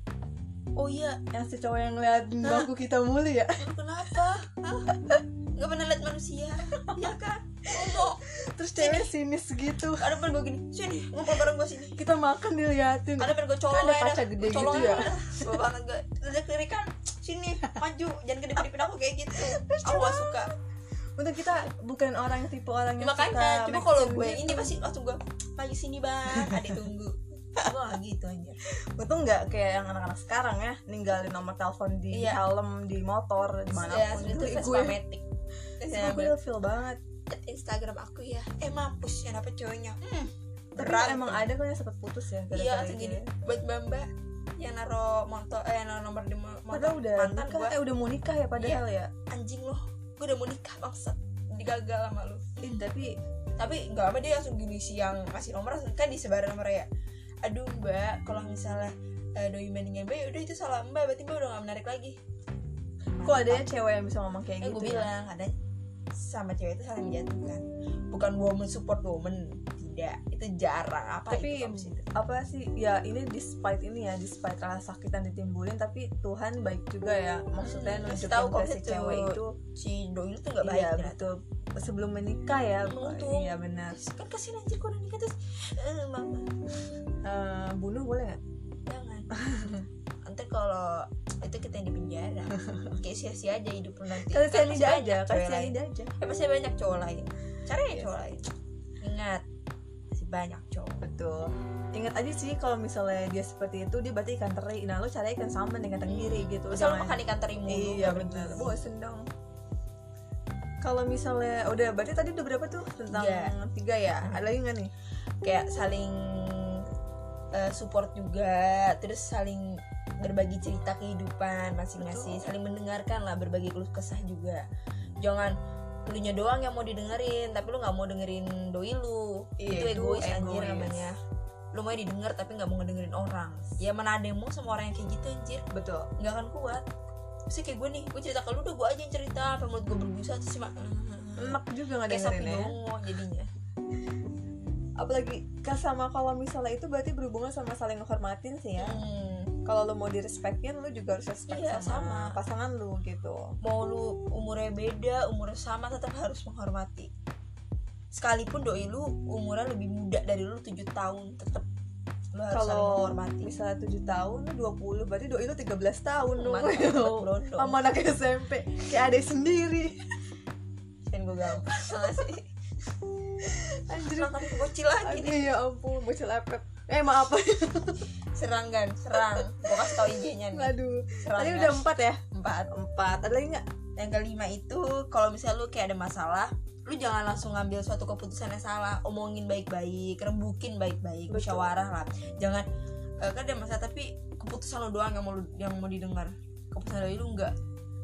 [SPEAKER 1] oh iya
[SPEAKER 2] yang si cowok yang ngeliat bangku kita mulu ya
[SPEAKER 1] lu kenapa Hah? nggak pernah lihat manusia
[SPEAKER 2] Iya
[SPEAKER 1] ya kan ngomong
[SPEAKER 2] terus cewek
[SPEAKER 1] Iya.
[SPEAKER 2] sinis gitu
[SPEAKER 1] ada pernah gue gini sini ngumpul bareng gue sini
[SPEAKER 2] kita makan diliatin
[SPEAKER 1] ada pernah gue colong
[SPEAKER 2] Ada kaca gede gitu ya.
[SPEAKER 1] gue banget gue lihat kiri kan sini maju jangan kedip-kedipin aku kayak gitu aku gak suka
[SPEAKER 2] untuk kita bukan orang yang tipe orang
[SPEAKER 1] Ya,
[SPEAKER 2] yang
[SPEAKER 1] makanya
[SPEAKER 2] suka
[SPEAKER 1] cuma kalau
[SPEAKER 2] make
[SPEAKER 1] gue
[SPEAKER 2] scene
[SPEAKER 1] ini
[SPEAKER 2] gitu.
[SPEAKER 1] pasti langsung gue maju sini bang ada tunggu gue gak gitu anjir
[SPEAKER 2] untung nggak kayak yang anak-anak sekarang ya ninggalin nomor telepon di
[SPEAKER 1] Iya.
[SPEAKER 2] helm di motor di mana
[SPEAKER 1] ya itu Iya,
[SPEAKER 2] gue
[SPEAKER 1] Vespa Matic
[SPEAKER 2] ya,
[SPEAKER 1] Vespa
[SPEAKER 2] gue
[SPEAKER 1] gue
[SPEAKER 2] udah feel banget
[SPEAKER 1] liat Instagram aku ya eh mampus yang apa cowoknya hmm,
[SPEAKER 2] tapi emang ada kan yang sempat putus ya
[SPEAKER 1] gitu. iya
[SPEAKER 2] gara-gara
[SPEAKER 1] atau
[SPEAKER 2] gini
[SPEAKER 1] gini buat bamba yang naro motor eh naro nomor di mo- motor
[SPEAKER 2] padahal udah
[SPEAKER 1] mantan Iya.
[SPEAKER 2] nikah
[SPEAKER 1] gue
[SPEAKER 2] eh udah mau nikah ya padahal ya
[SPEAKER 1] Eh, anjing loh gue udah mau nikah bangsat digagal sama lu
[SPEAKER 2] Ih, tapi
[SPEAKER 1] tapi nggak apa dia langsung gini siang kasih nomor langsung kan disebarin nomornya ya aduh mbak kalau misalnya eh, doi bandingin mbak ya udah itu salah mbak berarti mbak udah gak menarik lagi
[SPEAKER 2] kok ada cewek yang bisa ngomong kayak
[SPEAKER 1] Eh,
[SPEAKER 2] gitu
[SPEAKER 1] gue
[SPEAKER 2] ya?
[SPEAKER 1] bilang ada sama cewek itu saling menjatuhkan bukan woman support woman tidak itu jarang apa
[SPEAKER 2] tapi
[SPEAKER 1] itu kamu situ?
[SPEAKER 2] apa sih ya ini despite ini ya despite rasa sakit yang ditimbulin tapi Tuhan baik juga ya maksudnya
[SPEAKER 1] Hmm,
[SPEAKER 2] nunjukin
[SPEAKER 1] kasih tahu
[SPEAKER 2] ke
[SPEAKER 1] kalau
[SPEAKER 2] si
[SPEAKER 1] itu
[SPEAKER 2] cewek itu
[SPEAKER 1] si doi itu nggak baik
[SPEAKER 2] iya
[SPEAKER 1] ternyata.
[SPEAKER 2] betul sebelum menikah ya
[SPEAKER 1] Untung.
[SPEAKER 2] iya benar
[SPEAKER 1] Terus kan kasih anjir kok udah nikah terus eh, mama
[SPEAKER 2] Eh, bunuh boleh nggak
[SPEAKER 1] jangan nanti kalau itu kita yang di penjara kayak sia-sia aja hidup lu nanti
[SPEAKER 2] kasih
[SPEAKER 1] Kan masih
[SPEAKER 2] cyanida aja
[SPEAKER 1] banyak
[SPEAKER 2] Iya. kasih
[SPEAKER 1] cewek lain.
[SPEAKER 2] cyanida aja
[SPEAKER 1] Eh, masih banyak cowok lain cari aja cowok lain ingat masih banyak cowok
[SPEAKER 2] betul ingat aja sih kalau misalnya dia seperti itu dia berarti ikan teri nah lu cari ikan sama dengan ikan tenggiri gitu
[SPEAKER 1] masa Hmm. lu
[SPEAKER 2] Jangan-
[SPEAKER 1] makan ikan teri mulu
[SPEAKER 2] iya
[SPEAKER 1] nggak
[SPEAKER 2] benar
[SPEAKER 1] bergizi.
[SPEAKER 2] bosen dong kalau misalnya udah berarti tadi udah berapa tuh tentang
[SPEAKER 1] Tiga.
[SPEAKER 2] tiga ya ada lagi nggak nih
[SPEAKER 1] kayak saling eh, support juga terus saling berbagi cerita kehidupan masing-masing
[SPEAKER 2] Betul.
[SPEAKER 1] saling mendengarkan lah berbagi keluh kesah juga jangan lunya doang yang mau didengerin tapi lu nggak mau dengerin doi lu
[SPEAKER 2] Iya,
[SPEAKER 1] itu
[SPEAKER 2] itu
[SPEAKER 1] egois, anjir
[SPEAKER 2] egois.
[SPEAKER 1] namanya lu mau didengar tapi nggak mau ngedengerin orang ya mana ada yang mau sama orang yang kayak gitu anjir
[SPEAKER 2] betul
[SPEAKER 1] nggak akan kuat Maksudnya kayak gue nih gue cerita ke lu udah gue aja yang cerita apa menurut gue berbusa terus sih mak
[SPEAKER 2] enak juga nggak
[SPEAKER 1] kayak sapi
[SPEAKER 2] Hmm. dengerin ya
[SPEAKER 1] dongo jadinya
[SPEAKER 2] apalagi kas- sama kalau misalnya itu berarti berhubungan sama saling menghormatin sih ya
[SPEAKER 1] Hmm.
[SPEAKER 2] kalau lu mau direspekin lu juga harus respect
[SPEAKER 1] Iya,
[SPEAKER 2] sama,
[SPEAKER 1] sama.
[SPEAKER 2] pasangan lu gitu
[SPEAKER 1] mau lu umurnya beda umurnya sama tetap harus menghormati sekalipun doi lu umurnya lebih muda dari lu 7 tahun tetap lu harus saling
[SPEAKER 2] Kalau
[SPEAKER 1] menghormati
[SPEAKER 2] misalnya 7 tahun lu 20 berarti doi lu 13 tahun lu
[SPEAKER 1] Mantap, buat berondong.
[SPEAKER 2] sama anak SMP kayak adek sendiri
[SPEAKER 1] Sen gue gampang salah sih
[SPEAKER 2] anjir
[SPEAKER 1] serang tapi bocil lagi nih
[SPEAKER 2] Aduh ya ampun bocil lepet Eh maaf
[SPEAKER 1] serang kan serang gue kasih tau IG-nya nih
[SPEAKER 2] Aduh
[SPEAKER 1] serang
[SPEAKER 2] Tadi
[SPEAKER 1] kan?
[SPEAKER 2] udah empat ya
[SPEAKER 1] empat
[SPEAKER 2] Empat Ada lagi gak?
[SPEAKER 1] yang kelima itu kalau misalnya lu kayak ada masalah lu jangan langsung ngambil suatu keputusan yang salah omongin baik-baik rembukin baik-baik
[SPEAKER 2] Betul.
[SPEAKER 1] musyawarah lah jangan eh, kan ada masalah tapi keputusan lu doang yang mau lu- yang mau didengar keputusan dari lu enggak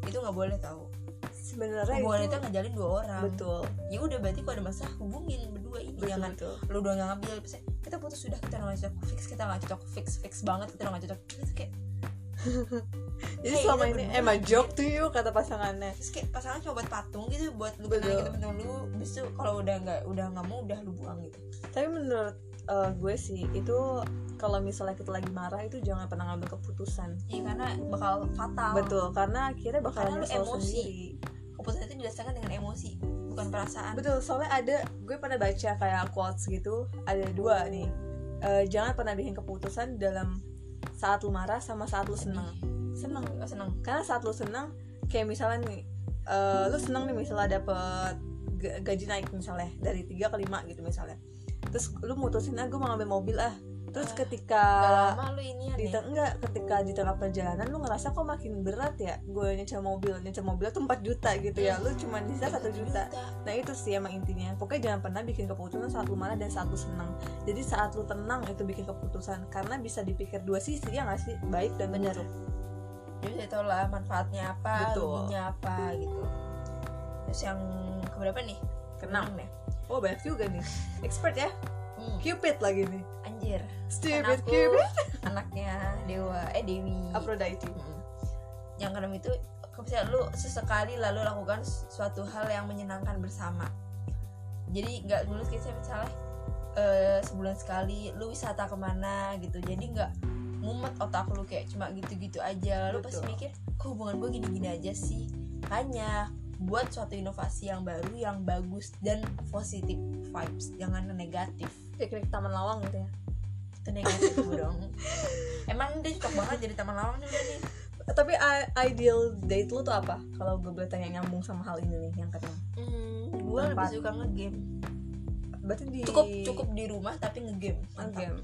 [SPEAKER 1] itu nggak boleh tahu
[SPEAKER 2] Sebenarnya
[SPEAKER 1] hubungan itu ngejalin dua orang
[SPEAKER 2] Nah, Betul
[SPEAKER 1] ya udah berarti kalau ada masalah hubungin berdua ini
[SPEAKER 2] Betul,
[SPEAKER 1] jangan
[SPEAKER 2] betul.
[SPEAKER 1] lu doang yang ngambil Terus kita putus sudah kita udah nggak cocok fix kita nggak cocok fix fix banget kita udah nggak cocok Terus kayak
[SPEAKER 2] Jadi
[SPEAKER 1] Hey,
[SPEAKER 2] selama
[SPEAKER 1] kita
[SPEAKER 2] ini
[SPEAKER 1] berdua.
[SPEAKER 2] Emang joke tuh yuk kata pasangannya
[SPEAKER 1] terus kayak pasangan cuma buat patung gitu buat lu kenalin
[SPEAKER 2] Betul.
[SPEAKER 1] ke temen-temen lu Habis itu kalau udah nggak udah nggak mau udah lu buang gitu
[SPEAKER 2] Tapi menurut eh, gue sih Itu kalau misalnya kita lagi marah itu jangan pernah ngambil keputusan
[SPEAKER 1] Iya karena bakal fatal.
[SPEAKER 2] Hmm. Betul Oh. Karena akhirnya
[SPEAKER 1] Karena
[SPEAKER 2] bakalan
[SPEAKER 1] lu
[SPEAKER 2] nyesel
[SPEAKER 1] emosi.
[SPEAKER 2] sendiri
[SPEAKER 1] Keputusan itu didasarkan dengan emosi, bukan perasaan.
[SPEAKER 2] Betul, soalnya ada gue pernah baca kayak quotes gitu, ada dua nih. Eh, jangan pernah bikin keputusan dalam saat lu marah sama saat lu senang. Senang.
[SPEAKER 1] Gak Oh, seneng.
[SPEAKER 2] Karena saat lu senang, kayak misalnya nih, eh, lu senang nih misalnya dapet ga- gaji naik misalnya dari 3 ke 5 gitu misalnya. Terus lu mutusin ah gue mau ngambil mobil ah. Terus
[SPEAKER 1] Ah,
[SPEAKER 2] ketika
[SPEAKER 1] Gak lama lu ini
[SPEAKER 2] di
[SPEAKER 1] aneh.
[SPEAKER 2] teng- enggak ketika di tengah perjalanan lu ngerasa kok makin berat ya gue nyicil mobil nyicil mobil tuh 4 juta gitu ya lu cuma
[SPEAKER 1] Hmm.
[SPEAKER 2] nyisa 1 juta Nah itu sih emang intinya Pokoknya jangan pernah bikin keputusan saat lu marah dan saat lu senang Jadi saat lu tenang itu bikin keputusan Karena bisa dipikir dua sisi ya nggak sih? Baik dan
[SPEAKER 1] Bener.
[SPEAKER 2] buruk
[SPEAKER 1] Jadi saya tahu lah manfaatnya apa,
[SPEAKER 2] Betul.
[SPEAKER 1] ruginya apa gitu. Terus yang keberapa nih?
[SPEAKER 2] keenam
[SPEAKER 1] ya
[SPEAKER 2] oh banyak juga nih expert ya
[SPEAKER 1] Hmm,
[SPEAKER 2] cupid lagi nih
[SPEAKER 1] anjir Karena
[SPEAKER 2] stupid
[SPEAKER 1] aku
[SPEAKER 2] cupid
[SPEAKER 1] anaknya dewa eh dewi
[SPEAKER 2] Aphrodite
[SPEAKER 1] Mm. yang keenam itu kalau misalnya lu sesekali lalu lakukan suatu hal yang menyenangkan bersama jadi nggak dulu kita misalnya eh, sebulan sekali lu wisata kemana gitu jadi nggak mumet otak lu kayak cuma gitu-gitu aja lalu pasti
[SPEAKER 2] Betul.
[SPEAKER 1] mikir kok hubungan gue gini-gini aja sih hanya buat suatu inovasi yang baru yang bagus dan positif vibes jangan negatif
[SPEAKER 2] kayak taman lawang gitu ya
[SPEAKER 1] itu negatif dong emang dia cocok banget jadi taman lawang juga nih
[SPEAKER 2] tapi i- ideal date lu tuh apa kalau gue boleh tanya nyambung sama hal ini nih yang keenam
[SPEAKER 1] Hmm, gue lebih
[SPEAKER 2] Tempat.
[SPEAKER 1] suka ngegame.
[SPEAKER 2] berarti di
[SPEAKER 1] Cukup cukup di rumah tapi ngegame. Mantap.
[SPEAKER 2] game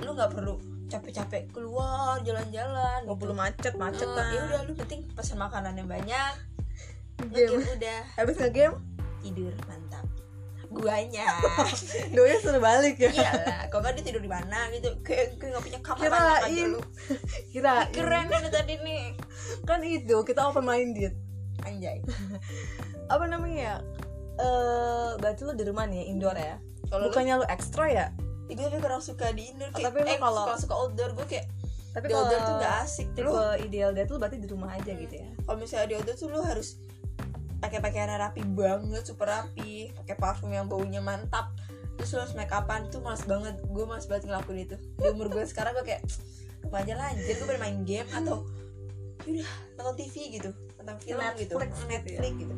[SPEAKER 1] Lu nggak perlu capek-capek keluar jalan-jalan.
[SPEAKER 2] gue belum macet
[SPEAKER 1] macet
[SPEAKER 2] macetan
[SPEAKER 1] Ya udah lu penting pesan makanan yang banyak.
[SPEAKER 2] Iya, game
[SPEAKER 1] Ngegame udah
[SPEAKER 2] abis ngegame
[SPEAKER 1] tidur mantap. Guanya.
[SPEAKER 2] doi suruh balik ya
[SPEAKER 1] Iyalah, kalau nggak dia tidur di mana gitu. Kayak kayak nggak punya kamar
[SPEAKER 2] Kirain.
[SPEAKER 1] mantap aja lu.
[SPEAKER 2] kira
[SPEAKER 1] Keren nih tadi nih.
[SPEAKER 2] kan itu kita open minded
[SPEAKER 1] Anjay.
[SPEAKER 2] apa namanya ya Eh, berarti lu di rumah nih ya, indoor ya
[SPEAKER 1] Kalau lu
[SPEAKER 2] bukannya lu ekstra ya
[SPEAKER 1] gue tapi kurang suka di indoor kayak,
[SPEAKER 2] Tapi lu
[SPEAKER 1] eh,
[SPEAKER 2] kalau-
[SPEAKER 1] kalau suka outdoor gue kayak
[SPEAKER 2] tapi
[SPEAKER 1] di outdoor tuh nggak Hmm. asik
[SPEAKER 2] tipe ideal dia tuh berarti di rumah aja gitu ya
[SPEAKER 1] kalau misalnya di outdoor tuh lu harus pakai pakaian yang rapi banget super rapi pakai parfum yang baunya mantap terus lu harus make upan tuh males banget gue males banget ngelakuin itu di umur gue sekarang gue kayak rumah aja lah anjir gue pengen main game atau yaudah nonton TV gitu nonton film gitu
[SPEAKER 2] Netflix gitu ya.
[SPEAKER 1] Netflix gitu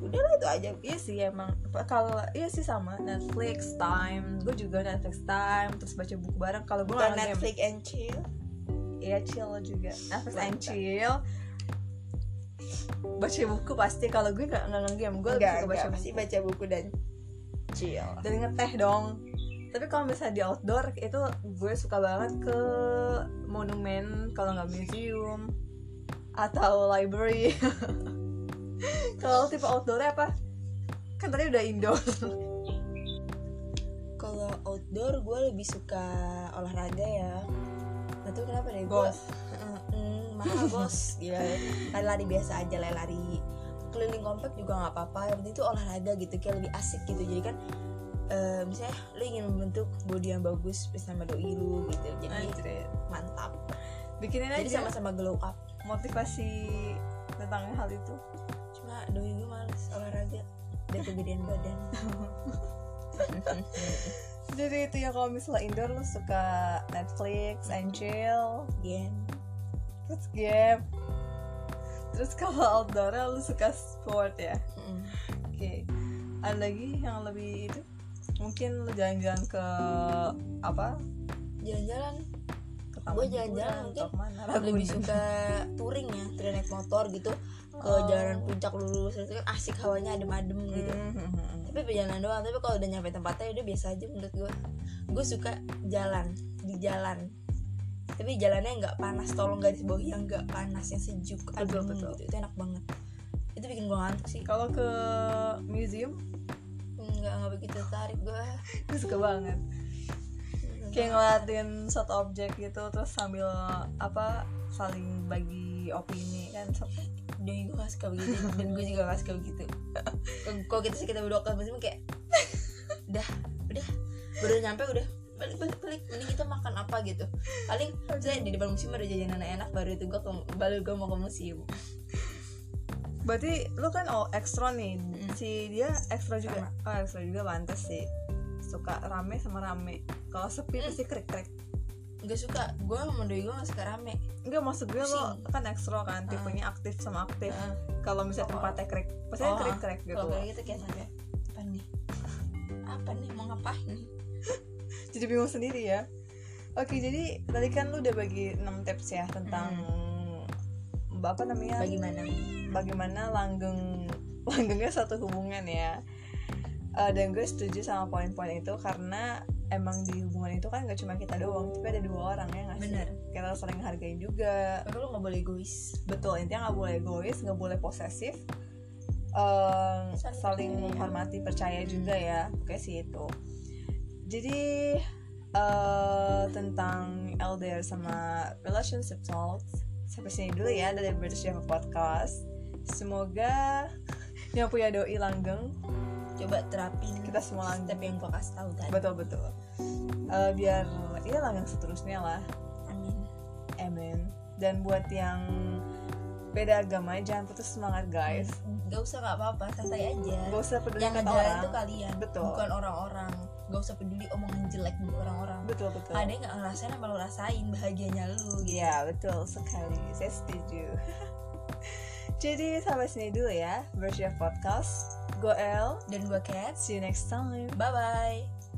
[SPEAKER 1] udah lah itu aja
[SPEAKER 2] iya sih emang kalau iya sih sama Netflix time gue juga Netflix time terus baca buku bareng kalau gue
[SPEAKER 1] bukan
[SPEAKER 2] nggak game
[SPEAKER 1] Netflix and chill
[SPEAKER 2] iya chill juga Netflix and
[SPEAKER 1] Mantap.
[SPEAKER 2] chill baca buku pasti kalau gue nggak nggak game gue lebih
[SPEAKER 1] enggak enggak
[SPEAKER 2] suka baca buku
[SPEAKER 1] pasti baca buku dan chill
[SPEAKER 2] dan ngeteh dong tapi kalau misalnya di outdoor itu gue suka banget ke monumen kalau nggak museum atau library kalau tipe outdoor apa kan tadi udah indoor
[SPEAKER 1] kalau outdoor gue lebih suka olahraga ya Gak tau kenapa deh gue
[SPEAKER 2] Golf.
[SPEAKER 1] Mm, mahal bos gila ya. lari-lari biasa aja lah lari keliling komplek juga nggak apa-apa yang penting itu olahraga gitu kayak lebih asik gitu jadi kan eh, misalnya lu ingin membentuk body yang bagus bersama doi lu gitu jadi mantap
[SPEAKER 2] bikinin
[SPEAKER 1] jadi
[SPEAKER 2] aja
[SPEAKER 1] sama-sama glow up
[SPEAKER 2] motivasi tentang hal itu
[SPEAKER 1] cuma doi gue males olahraga udah kegedean badan
[SPEAKER 2] jadi itu ya kalau misalnya indoor lu suka Netflix and chill
[SPEAKER 1] game
[SPEAKER 2] terus game terus kalau outdoor lu suka sport ya
[SPEAKER 1] Mm.
[SPEAKER 2] Oke, ada lagi yang lebih itu mungkin lu jalan-jalan ke apa?
[SPEAKER 1] jalan-jalan
[SPEAKER 2] Ke taman
[SPEAKER 1] Gua jalan-jalan
[SPEAKER 2] hiburan
[SPEAKER 1] mungkin
[SPEAKER 2] atau kemana?
[SPEAKER 1] lebih
[SPEAKER 2] Ragunan.
[SPEAKER 1] suka touring ya touring naik motor gitu ke
[SPEAKER 2] Oh.
[SPEAKER 1] jalan puncak lurus itu kan asik hawanya adem-adem gitu
[SPEAKER 2] Mhm.
[SPEAKER 1] tapi perjalanan doang tapi kalau udah nyampe tempatnya udah biasa aja menurut gue gue suka jalan di jalan tapi jalannya nggak panas tolong garis bawah yang nggak panas yang sejuk adem
[SPEAKER 2] betul.
[SPEAKER 1] gitu itu enak banget itu bikin gue ngantuk sih
[SPEAKER 2] Kalau ke museum,
[SPEAKER 1] nggak nggak begitu tertarik gue
[SPEAKER 2] gue suka banget. Kayak ngeliatin suatu objek gitu, terus sambil apa saling bagi opini kan.
[SPEAKER 1] doi gue gak suka begitu dan gue juga gak suka begitu Kalau- kalau kita sih kita berdua ke musim kayak udah udah baru nyampe udah balik balik balik mending kita makan apa gitu paling saya di depan museum ada jajanan enak baru itu gue baru gue mau ke museum
[SPEAKER 2] Berarti lu kan oh ekstra nih,
[SPEAKER 1] Mhm.
[SPEAKER 2] si dia ekstra juga. Oh ekstra juga pantas sih. Suka rame sama rame. Kalau
[SPEAKER 1] Mm.
[SPEAKER 2] sepi pasti krik-krik.
[SPEAKER 1] nggak suka gue sama doi gue gak suka rame
[SPEAKER 2] Enggak maksud gue lo
[SPEAKER 1] Pusing.
[SPEAKER 2] kan ekstra kan tipenya aktif sama aktif.
[SPEAKER 1] Heeh.
[SPEAKER 2] Kalau
[SPEAKER 1] Oh.
[SPEAKER 2] misalnya tempatnya krik, pasti
[SPEAKER 1] Oh,
[SPEAKER 2] kan krik-krik gitu.
[SPEAKER 1] kalau kayak gitu kayak sampai apa nih apa nih mau ngapain
[SPEAKER 2] Jadi bingung sendiri ya. Oke, jadi tadi kan lu udah bagi 6 tips ya tentang
[SPEAKER 1] Mm.
[SPEAKER 2] apa namanya?
[SPEAKER 1] bagaimana
[SPEAKER 2] bagaimana langgeng langgengnya satu hubungan ya. Eh, dan gue setuju sama poin-poin itu karena emang di hubungan itu kan gak cuma kita doang, tapi ada dua orang ya nggak sih?
[SPEAKER 1] Bener.
[SPEAKER 2] Kita harus saling hargain juga.
[SPEAKER 1] tapi lu nggak boleh egois
[SPEAKER 2] betul intinya nggak boleh egois nggak boleh posesif Em,
[SPEAKER 1] Saling
[SPEAKER 2] saling
[SPEAKER 1] percaya.
[SPEAKER 2] menghormati percaya
[SPEAKER 1] Hmm.
[SPEAKER 2] juga ya kayak sih itu jadi eh, tentang LDR sama relationship talks sampai sini dulu ya dari British Java Podcast semoga yang punya doi langgeng
[SPEAKER 1] coba terapin
[SPEAKER 2] Kita semua lanjut.
[SPEAKER 1] step yang gue kasih tahu tadi
[SPEAKER 2] betul betul Eh, biar ya langgang seterusnya lah
[SPEAKER 1] amin
[SPEAKER 2] amen dan buat yang beda agama jangan putus semangat guys
[SPEAKER 1] gak usah gak apa-apa santai aja
[SPEAKER 2] gak usah peduli
[SPEAKER 1] Iya. yang
[SPEAKER 2] kata
[SPEAKER 1] ngejalan itu
[SPEAKER 2] orang
[SPEAKER 1] kan kalian
[SPEAKER 2] Betul.
[SPEAKER 1] bukan orang-orang gak usah peduli omongan jelek dari orang-orang
[SPEAKER 2] betul betul
[SPEAKER 1] ada yang gak ngerasain apa lo rasain bahagianya lu gitu
[SPEAKER 2] Iya betul sekali, saya setuju. Jadi sampai sini dulu ya, Bersia Podcast. Go El,
[SPEAKER 1] dan gue Cats
[SPEAKER 2] see you next time.
[SPEAKER 1] bye-bye